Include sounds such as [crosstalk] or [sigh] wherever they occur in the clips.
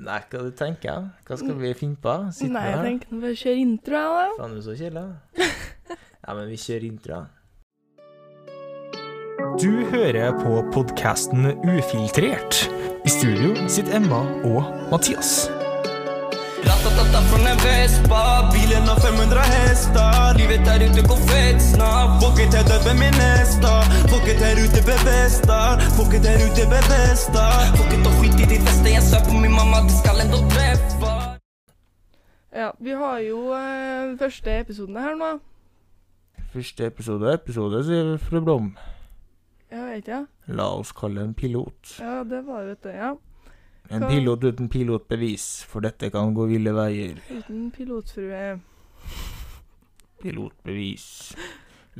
Nei, hva du tenker Hva skal vi finne på? Sitte Nei, jeg her? tenker vi bare kjører intro, jeg, Faen, du er så kjedelig. da. [laughs] Nei, men vi kjører intro. Du hører på podkasten Ufiltrert. I studio sitter Emma og Mathias. Ratatata for en Vespa Bilen har 500 hester Livet der ute går fett snart Folket er døde med nesta Folket er ute bevesta Folket er ute bevesta Folket har skit i de fleste Jeg sa på min mamma Det skal enda treffe da. Ja, vi har jo eh, første episoden her nå. Første episode episode, sier fru Blom. Jeg vet ikke, ja. La oss kalle en pilot. Ja, det var det, vet du. Ja. En Hva- pilot uten pilotbevis, for dette kan gå ville veier. Uten pilotfrue. Pilotbevis.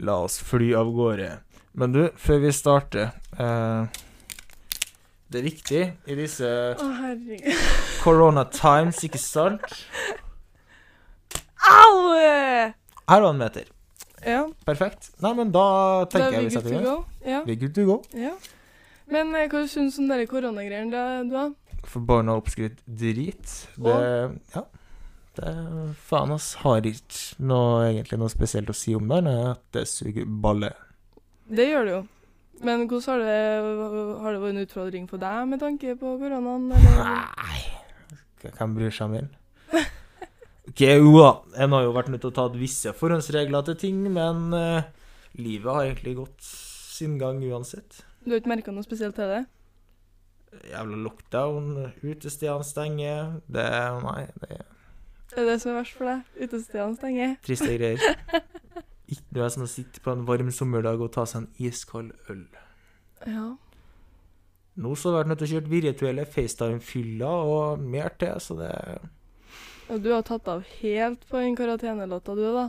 La oss fly av gårde. Men du, før vi starter eh, Det er viktig i disse Å, herregud. corona times, ikke sant? Au! Her var en meter. Ja, Perfekt. Nei, men da da tenker er jeg vi vi good setter to i gang. go. Ja. Vi er good to go. ja. Men eh, hva syns du om de koronagreiene, da, du, da? Forbanna oppskrytt drit. Det Ja. Det Faen, ass. Har ikke noe, egentlig noe spesielt å si om det, annet enn at det suger balle. Det gjør det jo. Men hvordan har det, har det vært en utfordring for deg med tanke på koronaen? Eller? Nei. Hva- Hvem bryr seg om den? Ok, jo da. En har jo vært nødt til å ta visse forhåndsregler til ting, men eh, livet har egentlig gått sin gang uansett. Du har ikke merka noe spesielt til det? Jævla lockdown, utestedene stenger. Det Nei, det er Det er det som er verst for deg. Utestedene stenger. triste [laughs] greier. Ikke noe som å sitte på en varm sommerdag og ta seg en iskald øl. Ja. Nå så har jeg vært nødt til å kjøre virtuelle FaceTime-fyller og mer til, så det er Og du har tatt av helt på den karantenelåta, du, da.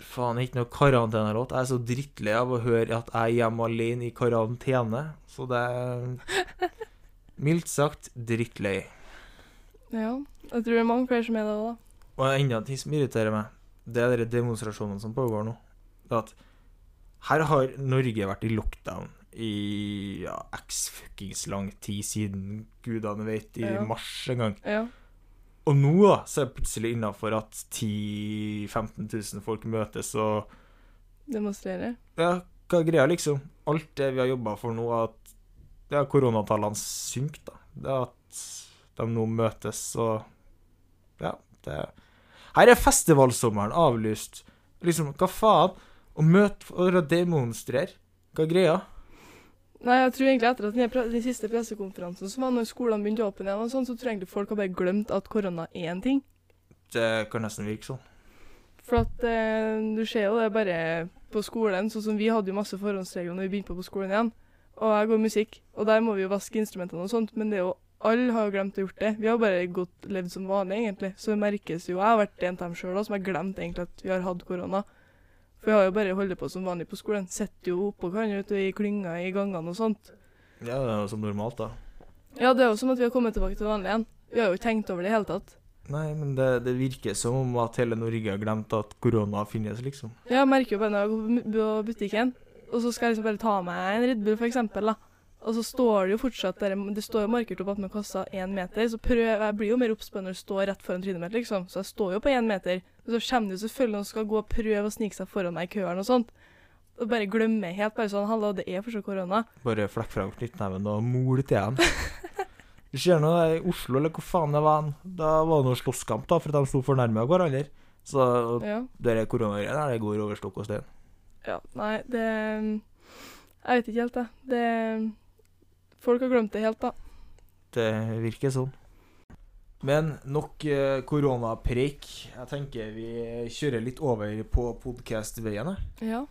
faen ikke noe karantenelåt. Jeg er så drittlei av å høre at jeg er hjemme alene i karantene, så det er mildt sagt drittlei. Ja. Jeg tror det er mange flere som er det òg, da. Og enda en ting som irriterer meg, det er de demonstrasjonene som pågår nå. Det er at her har Norge vært i lockdown i ja, x fuckings lang tid siden gudene vet, i Ja. mars en gang. Ja. Og nå da, så er det plutselig innafor at 10 000-15 000 folk møtes og Demonstrerer. Ja, hva er greia, liksom? Alt det vi har jobba for nå, at ja, koronatallene synker, da. Det er at de nå møtes og Ja, det Her er festivalsommeren avlyst. Liksom, hva faen? Å møte for å demonstrere, hva er greia? Nei, jeg tror egentlig etter at den, her pre den siste pressekonferansen som var når skolene begynte å åpne igjen, og sånn, så tror jeg egentlig folk har bare glemt at korona er en ting. Det kan nesten virke sånn. For at eh, du ser jo det bare på skolen, sånn som vi hadde jo masse forhåndsregler når vi begynte på, på skolen igjen. Og jeg går musikk, og der må vi jo vaske instrumentene og sånt, men det er jo alle har jo glemt å gjort det. Vi har bare gått, levd som vanlig, egentlig. Så det merkes jo. Jeg har vært en av dem sjøl som har glemt egentlig at vi har hatt korona. For vi har jo bare holdt på som vanlig på skolen. Sitter jo oppå hverandre ute i klynga i gangene og sånt. Ja, det er jo som normalt, da. Ja, det er jo som at vi har kommet tilbake til vanlig igjen. Vi har jo ikke tenkt over det i hele tatt. Nei, men det, det virker som om at hele Norge har glemt at korona finnes, liksom. Ja, Jeg merker jo bare når jeg går på bu- på butikken, og så skal jeg liksom bare ta meg en Red Bull, for eksempel, da. Og så står det jo fortsatt der, det står jo markert opp attmed kassa én meter, så prøv, jeg blir jo mer obs på når det står rett foran trynet mitt, liksom. Så jeg står jo på én meter. Og så kommer det jo selvfølgelig noen som skal gå og prøve å snike seg foran meg i køen og sånt. Og bare glemmer jeg helt bare sånn Halla, det er fortsatt korona. Bare flekk frem knyttneven og mol til igjen. Du ser nå det er i Oslo, eller hvor faen det var, hen. da var det noe slåsskamp, da, for at de sto fornærma hverandre. Så Ja. det der koronagreiene her, det går over stokk og stein. ja. Nei, det Jeg vet ikke helt, jeg. Det Folk har glemt det helt, da. Det virker sånn. Men nok eh, koronapreik. Jeg tenker vi kjører litt over på podkastveien. jeg. Ja.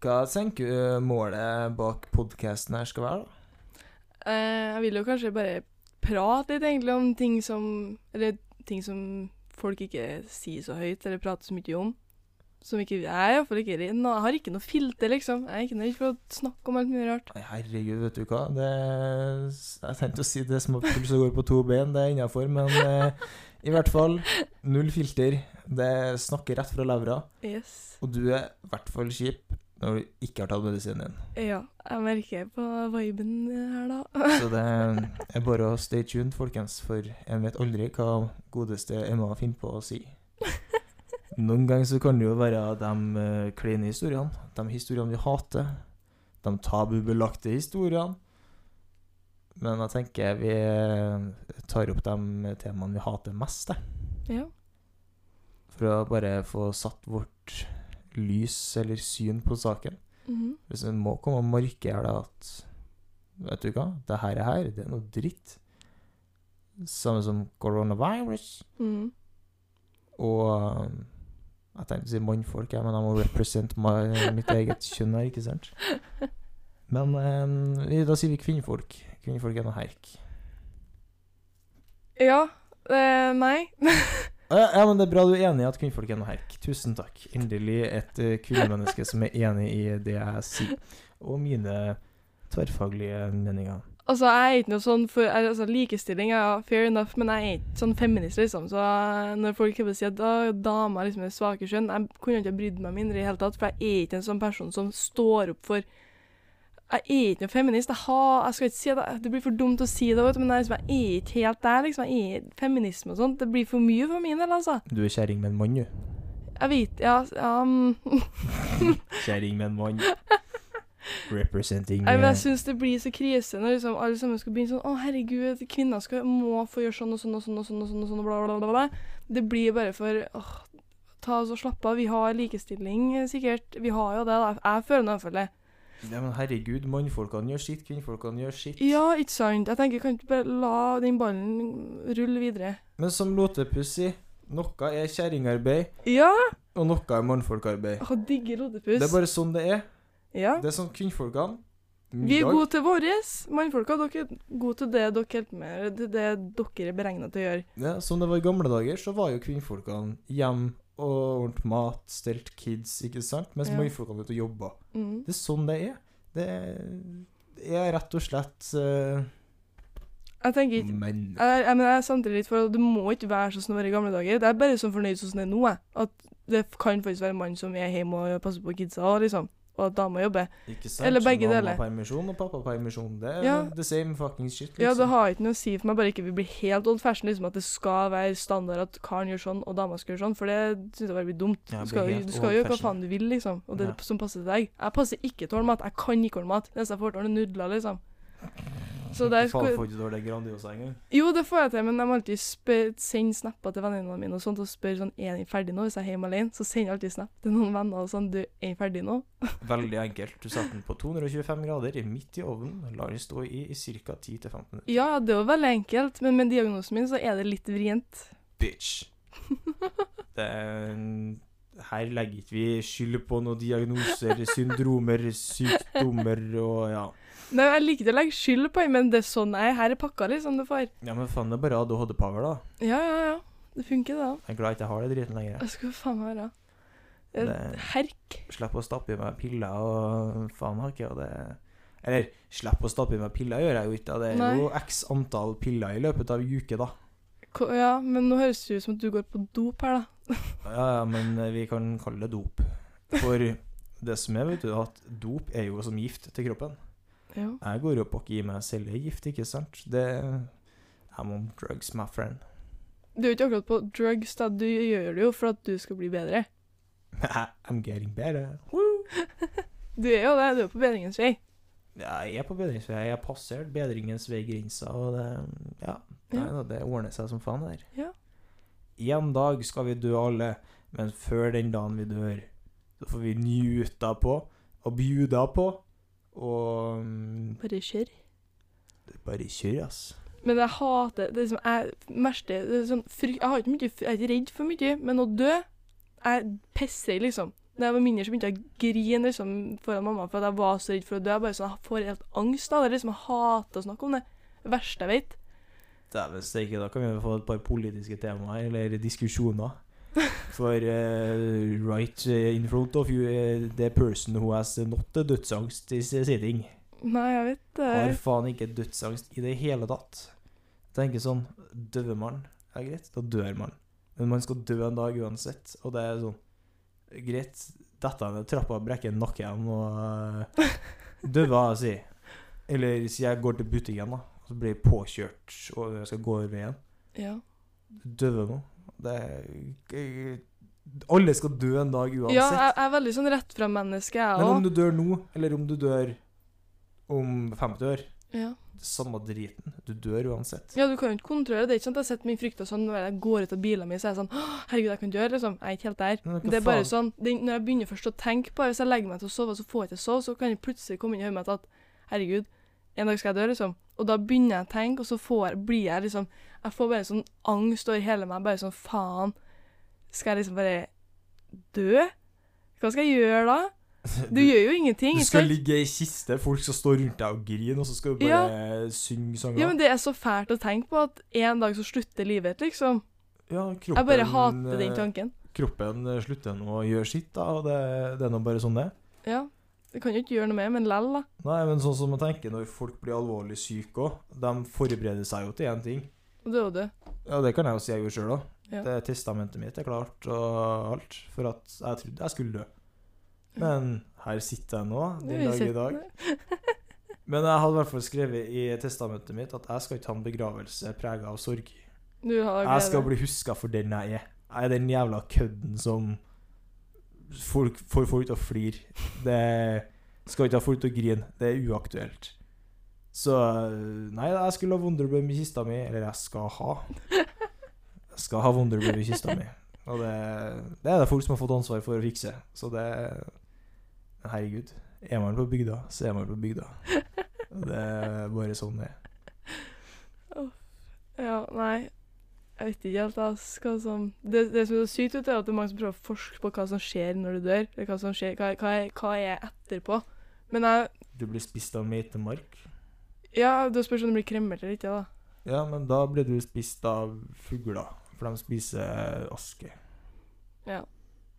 Hva tenker du målet bak podkasten her skal være, da? Eh, jeg vil jo kanskje bare prate litt egentlig om ting som Eller ting som folk ikke sier så høyt, eller prater så mye om. Som ikke Jeg er i hvert fall ikke redd- nå- Jeg har ikke noe filter, liksom. Jeg er ikke noe redd for å snakke om alt mye rart. Nei, herregud, vet du hva. Det, jeg tenkte å si det som puls som går på to ben, det er innafor, men eh, i hvert fall null filter. Det snakker rett fra levra, Yes. og du er i hvert fall kjip. når du ikke har tatt medisinen din. Ja, jeg merker på viben her, da. [laughs] Så det er bare å stay tuned, folkens, for en vet aldri hva godeste Emma finner på å si. Noen ganger så kan det jo være de eh, kleine historiene, de historiene vi hater, de tabubelagte historiene. Men jeg tenker vi eh, tar opp de temaene vi hater mest, jeg. Ja. For å bare få satt vårt lys eller syn på saken. mhm. Hvis en må komme og markere det at Vet du hva, det her er her, det er noe dritt. Samme som coronavirus. Mhm. Og um, Jeg tenkte å si mannfolk, jeg, men jeg må represent my, mitt eget kjønn her, ikke sant? Men um, vi- da sier vi kvinnfolk. Kvinnfolk er noe herk. Ja. Eh, nei. [laughs] Ja, ja, men Det er bra du er enig i at kvinnfolk er noe herk. Tusen takk. Endelig et eh, kvinnemenneske som er enig i det jeg sier, og mine tverrfaglige meninger. Altså, jeg er ikke noe sånn for jeg- altså, Likestilling er fair enough, men jeg er ikke sånn feminist, liksom. Så eh, når folk hevder sier at «Å, damer liksom, er svake kjønn, jeg kunne ikke ha brydd meg mindre i det hele tatt, for jeg er ikke en sånn person som står opp for Jeg er ikke noen feminist. Jeg, har, jeg skal ikke si det, det blir for dumt å si det, vet du, men jeg, er liksom, jeg er ikke helt der, liksom. Jeg er feminisme og sånt. Det blir for mye for min del, altså. Du er kjerring med en mann, du. Jeg vet Ja, ja mm. Kjerring med en mann. [laughs] Representing Jeg, eh, jeg syns det blir så krise når liksom alle sammen skal begynne sånn Å, herregud, kvinner skal, må få gjøre sånn og sånn og sånn og sånn og sånn, og sånn og bla, bla, bla, bla. Det blir bare for åh, Ta oss og slapp av. Vi har likestilling, eh, sikkert. Vi har jo det, da. Jeg føler nå iallfall det. ja, men herregud, mannfolkene gjør sitt, kvinnfolkene gjør sitt. Ja, ikke sant? Jeg tenker, kan du ikke bare la den ballen rulle videre? Men som Lotepus sier, noe er kjerringarbeid, Ja! og noe er mannfolkarbeid. Jeg digger Det er lodepus. bare sånn det er. Ja. Det er sånn kvinnfolkene Vi er middag- gode til våres. Mannfolka, dere er gode til det dere hjelper med, eller det det dere er beregna til å gjøre. ja, Som det var i gamle dager, så var jo kvinnfolkene hjem og ordnet mat, stelt kids, ikke sant? Mens Ja. mannfolkene var ute og jobba. Mm. Det er sånn det er. Det er, det er rett og slett eh, Jeg tenker ikke menn. Jeg, jeg, men jeg er samtidig litt for at det må ikke være sånn som det var i gamle dager. Det er bare sånn fornøyd sånn som det er nå, jeg. At det kan faktisk være en mann som er hjemme og passer på kidsa, og liksom. Og at dama jobber. Ikke sant? Eller begge deler. Mammapermisjon og pappapermisjon. Det er Ja. the same fucking shit. liksom. Ja, det har ikke noe å si for meg, bare ikke vi blir helt old fashion, liksom at det skal være standard at karen gjør sånn, og dama skal gjøre sånn, for det synes jeg bare blir dumt. Ja, Du det skal, blir jo- helt du skal gjøre hva old-fashioned. faen du vil, liksom, og det er Ja. det som passer til deg. Jeg passer ikke til å ordne mat, jeg kan ikke ordne mat. Det eneste jeg får til å ordne er nudler, liksom. Så der Faen, skulle får ikke du dårlig Grandiosa engang? Jo, det får jeg til, men jeg må alltid spør, sende snapper til vennene mine og sånt, og spørre sånn, er den ferdig nå? Hvis jeg er hjemme alene, så sender jeg alltid snap til noen venner og sånn, du, er den ferdig nå? Veldig enkelt. Du setter den på 225 grader i midt i ovnen, lar den stå i i ca. 10-15 minutter. Ja, det er jo veldig enkelt, men med diagnosen min så er det litt vrient. Bitch. Det er en- her legger ikke vi skyld på noen diagnoser, syndromer, sykdommer og ja. Nei, jeg liker ikke å legge skyld på den, men det er sånn jeg er. Her er pakka liksom, du får. Ja, men faen, det er bare ADHD-power, da. Ja, ja, ja. Det funker det da. Jeg er glad jeg ikke har det driten lenger. Jeg skulle faen meg være. Det er Det- herk. Slipp å stappe i meg piller og faen har ikke og det Eller slipp å stappe i meg piller gjør jeg jo ikke. da. Det er Nei. jo x antall piller i løpet av ei uke, da. Ko- Ja, men nå høres det ut som at du går på dop her da. Ja, ja, men vi kan kalle det dop. For det som er, vet du, at dop er jo som gift til kroppen. Ja. Jeg går opp og gir meg selv ei gift, ikke sant? Det I'm on drugs, my friend. [laughs] Du er jo ikke akkurat på drugs da, du gjør det jo for at du skal bli bedre. I'm getting better. Du er jo det, du er jo på bedringens vei. Ja, jeg er på bedringsvei. Jeg har passert bedringens vei-grensa, og det Ja. Ja. Nei, da, det ordner seg som faen, det der. Ja. En dag skal vi dø alle, men før den dagen vi dør, så får vi njuta på og bjuda på, og mm, Bare kjør. Bare kjør, ass. Men jeg hater det er liksom, Jeg verste det er sånn, frykt- Jeg har ikke mye Jeg er ikke redd for mye, men å dø Jeg pisser, liksom. Da jeg var mindre, så begynte jeg å grine liksom, foran mamma for at jeg var så redd for å dø. Jeg bare sånn, jeg får helt angst av det. er liksom, Jeg hater å snakke om det. Det verste jeg vet. Dæven steike, da kan vi jo få et par politiske temaer, eller diskusjoner. For eh, right in front of you, eh, the person who has not the dødsangst is sitting. Nei, jeg vet det. Har faen ikke dødsangst i det hele tatt. Tenker sånn, døver man, er greit, da dør man. Men man skal dø en dag uansett, og det er sånn, greit, detter jeg ned trappa og brekker nakken og eh, dør hva jeg sier. Eller hvis jeg går til butikken, da, og så blir jeg påkjørt og jeg skal gå over veien. Ja. Døve nå. Det er, alle skal dø en dag uansett. ja, jeg jeg er veldig sånn rett fra menneske, jeg Men om òg. du dør nå, eller om du dør om 50 år, Ja. samme driten. Du dør uansett. ja, du kan jo ikke kontrollere det. ikke sant? Jeg setter min frykt og sånn når jeg går ut av bilen min, så er jeg sånn «Åh, Herregud, jeg kan dø, liksom. Jeg er ikke helt der. Men hva Det er bare faen? sånn, det, Når jeg begynner først å tenke på det, hvis jeg legger meg til å sove, så får jeg ikke sove, så kan det plutselig komme inn i hodet mitt at herregud, en dag skal jeg dø, liksom. Og da begynner jeg å tenke, og så får, jeg- blir jeg liksom Jeg får bare sånn angst over hele meg, bare sånn faen. Skal jeg liksom bare dø? Hva skal jeg gjøre [laughs] da? Du gjør jo ingenting. Du ikke skal sant? ligge i kiste, folk skal stå rundt deg og grine, og så skal du bare synge sanger. Ja, men Det er så fælt å tenke på at en dag så slutter livet, liksom. Ja, kroppen, Jeg bare hater eh, den tanken. Kroppen eh, slutter nå å gjøre sitt, da, og det, det er nå bare sånn det er. Ja. Jeg kan jo ikke gjøre noe med men lell, da. Nei, men sånn som jeg tenker, når folk blir alvorlig syke òg, de forbereder seg jo til én ting. Og det er jo det. Ja, det kan jeg jo si jeg gjorde sjøl òg. Ja. Det Testamentet mitt er klart og alt, for at jeg trodde jeg skulle dø. Men her sitter jeg nå, den dag i dag. Men jeg hadde i hvert fall skrevet i testamentet mitt at jeg skal ikke ha en begravelse prega av sorg. [laughs] Du har glede. Jeg skal bli huska for den jeg er. Jeg er den jævla kødden som folk, får folk til å flire. Det skal ikke ha folk til å grine. Det er uaktuelt. Så eh, Nei, jeg skulle ha Wonderbloom i kista mi. Eller jeg skal ha. Jeg skal ha Wonderbloom i kista mi. Og det, det er det folk som har fått ansvar for å fikse. Så det Herregud. Er man på bygda, så er man på bygda. Det er bare sånn det er. [laughs] Ja, nei. Jeg vet ikke helt ass, hva som det, det som er så sykt, vet du, er at det er mange som prøver å forske på hva som skjer når du dør. Eller hva som skjer, hva, hva, er, hva er etterpå. Men jeg Du blir spist av meitemark. Ja, da spørs om det blir kremmer eller ikke, da. Ja, men da ble du spist av fugler, for de spiser aske. Ja.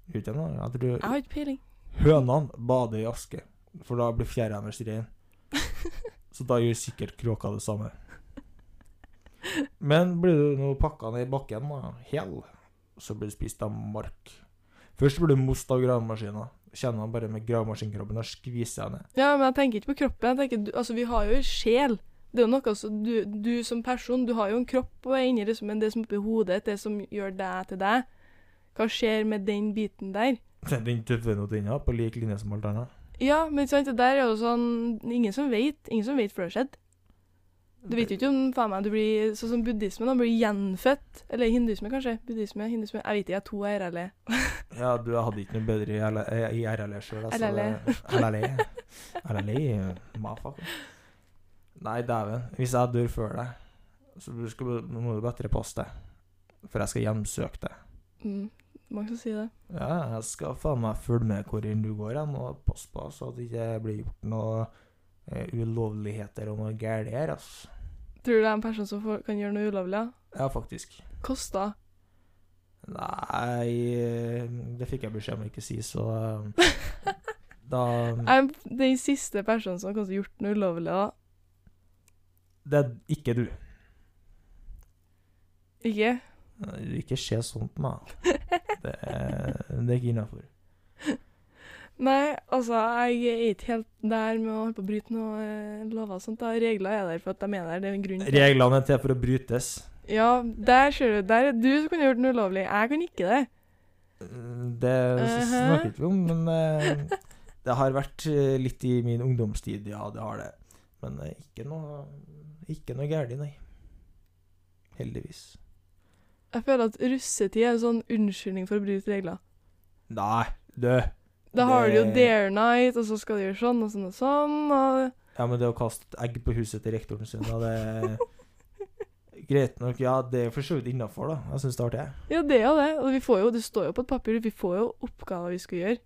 Gjør ikke de det? Jeg tror Jeg har ikke peiling. [laughs] hønene bader i aske, for da blir fjæra deres rein. Så da gjør sikkert kråka det samme. Men blir du nå pakka ned i bakken, da, hel, så blir du spist av mark. Først blir du most av gravemaskina. Kjenner han bare med gravemaskinkroppen, da skviser jeg ned. [laughs] Ja, men jeg tenker ikke på kroppen. Jeg tenker, du, altså, Vi har jo en sjel. Det er jo noe som du, du som person, du har jo en kropp og er inni liksom, men det som er oppi hodet, det som gjør deg til deg. Hva skjer med den biten der? Den tøffe notinna, på lik linje som alt annet. Ja, men ikke sant, det der er jo sånn Ingen som vet. Ingen som vet før det har skjedd. Du vet jo ikke om faen meg, du blir sånn som buddhismen, da blir du gjenfødt. Eller hinduisme, kanskje. Buddhisme, hinduisme. Jeg vet ikke, jeg er to RLE. Ja, du jeg hadde ikke noe bedre i LA i E RLE sjøl. LLE. [laughs] LLE. LLE. E, Motherfucker. Nei, dæven. Hvis jeg dør før deg, så du skal, må du bedre passe deg. For jeg skal hjemsøke deg. [laughs] Mm, mange som sier det. Ja, jeg skal faen meg følge med hvor enn du går hen, og passe på så at det ikke blir gjort noe eh, ulovligheter og noe galt her, ass. Tror du det er en person som får, kan gjøre noe ulovlig? ja? Ja, faktisk. Kosta. [laughs] Nei eh, Det fikk jeg beskjed om å ikke si, så eh, da Jeg er den siste personen som kanskje har gjort noe ulovlig, da. Det er ikke du. Ikke? [laughs] Du, Ikke se sånn på meg. Det er, det er ikke innafor. Nei, altså, jeg er ikke helt der med å holde på å bryte noen eh, lover og sånt. da. Regler er der for at de er der. Det er en grunn. til det. Reglene er til for å brytes. Ja, der ser du. Der er du som kunne gjort noe ulovlig. Jeg kan ikke det. Det snakker vi ikke om, men eh, det har vært eh, litt i min ungdomstid, ja, det har det. Men eh, ikke noe, ikke noe galt, nei. Heldigvis. Jeg føler at russetid er en sånn unnskyldning for å bryte regler. Nei, du. Da har du jo Det- dare night, og så skal du gjøre sånn og sånn og sånn. Og Ja, men det å kaste et egg på huset til rektoren sin, da, det [laughs] Greit nok, ja, det er for så vidt innafor, da. Jeg syns det er artig. jeg. [laughs] ja, det er jo det. Og vi får jo, det står jo på et papir, vi får jo oppgaver vi skal gjøre.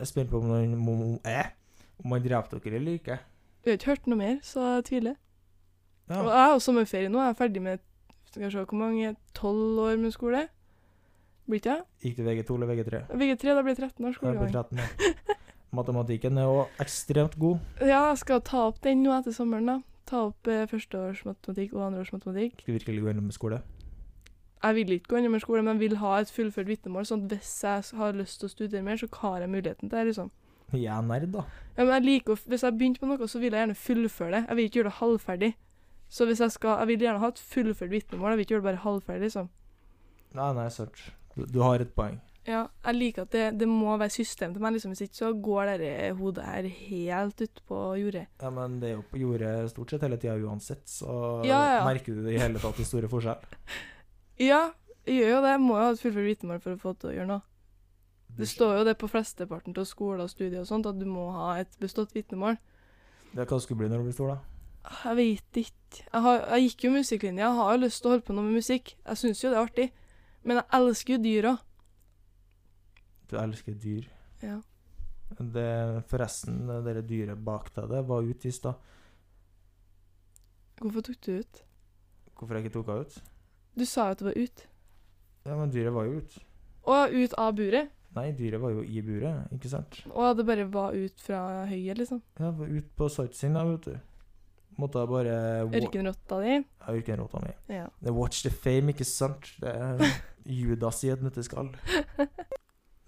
Jeg er spent på om han om, om, eh, om han dreper dere eller ikke. Vi har ikke hørt noe mer, så jeg tviler. Ja. Og jeg har jo sommerferie nå. Jeg er ferdig med skal vi se, hvor mange tolv år med skole. Blir ikke jeg? Gikk du VG2 eller VG3? VG3, da blir det 13 år Jeg ble skolegang. 13 nå. Matematikken er også ekstremt god. Ja, jeg skal ta opp den nå etter sommeren, da. Ta opp eh, førsteårsmatematikk og andreårsmatematikk. Skal virkelig gå gjennom skole. jeg vil ikke gå innom en skole, men jeg vil ha et fullført vitnemål. Sånn at hvis jeg har lyst til å studere mer, så har jeg muligheten til det. liksom. Jeg er nerd, da. Ja, men jeg liker å, f- Hvis jeg begynte på noe, så vil jeg gjerne fullføre det. Jeg vil ikke gjøre det halvferdig. Så hvis jeg skal, jeg vil gjerne ha et fullført vitnemål. Jeg vil ikke gjøre det bare halvferdig. liksom. Nei, nei, search. Du, du har et poeng. Ja, jeg liker at det, det må være system til meg. liksom. Hvis ikke så går dette hodet her helt ut på jordet. Ja, men det er jo på jordet stort sett hele tida uansett, så Ja, ja. merker du i hele tatt den store forskjell. Ja, jeg gjør jo det. Jeg må jo ha et fullført vitnemål for å få til å gjøre noe. Det står jo det på flesteparten av skoler og studier og sånt, at du må ha et bestått vitnemål. Ja, Hva skulle du bli når du blir stor, da? Jeg vet ikke. Jeg, har, jeg gikk jo musikklinja. Jeg har jo lyst til å holde på noe med musikk. Jeg syns jo det er artig. Men jeg elsker jo dyr òg. Du elsker dyr. Ja. Det, forresten, det der dyret bak deg det var ute i stad. Hvorfor tok du ut? Hvorfor jeg ikke tok henne ut? Du sa jo at det var ut. Ja, men dyret var jo ute. Og ut av buret. Nei, dyret var jo i buret, ikke sant? Og det bare var ut fra høyet, liksom. Ja, var ut på sightseeing, da, vet du. Måtte jeg bare wa- Ørkenrotta di. Ja, Ørkenrota mi. Ja. Det er Watch the fame, ikke sant? Det er Judas i et nøtteskall.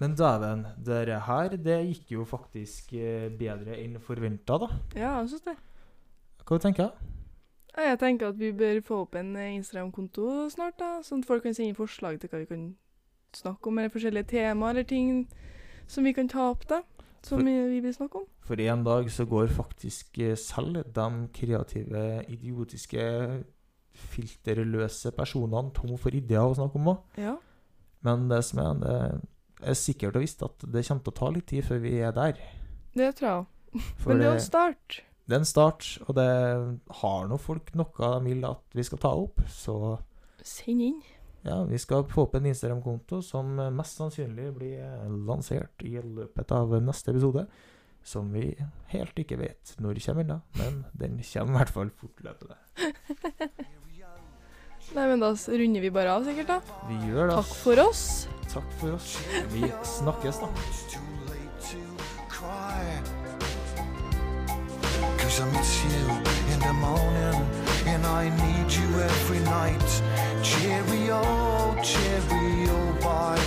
Men dæven, dere her, det gikk jo faktisk eh, bedre enn forventa, da. [laughs] ja, jeg syns det. Hva tenker du? Ja, Jeg tenker at vi bør få opp en eh, Instagram-konto snart, da, sånn at folk kan sende forslag til hva vi kan snakke om, eller forskjellige temaer eller ting som vi kan ta opp, da. Som For- vi vi vil snakke om. For en dag så går faktisk eh, selv de kreative, idiotiske, filterløse personene tom for ideer å snakke om òg. Ja. Men det som er, det er sikkert og visst at det kommer til å ta litt tid før vi er der. Det tror jeg òg. For Men det er jo det- en start. Det er en start, og det har nå folk noe de vil at vi skal ta opp. Så Send inn. ja, vi skal få opp en Instagram-konto som eh, mest sannsynlig blir eh, lansert i løpet av neste episode. Som vi helt ikke vet når kommer ennå, men den kommer i hvert fall fortløpende. Nei, men da s- runder vi bare av, sikkert, da. Vi gjør det. Takk for oss. Takk for oss. Vi snakkes, da. It's too late to cry. Cause I miss you in the morning and I need you every night. Cheerio, cheerio, bye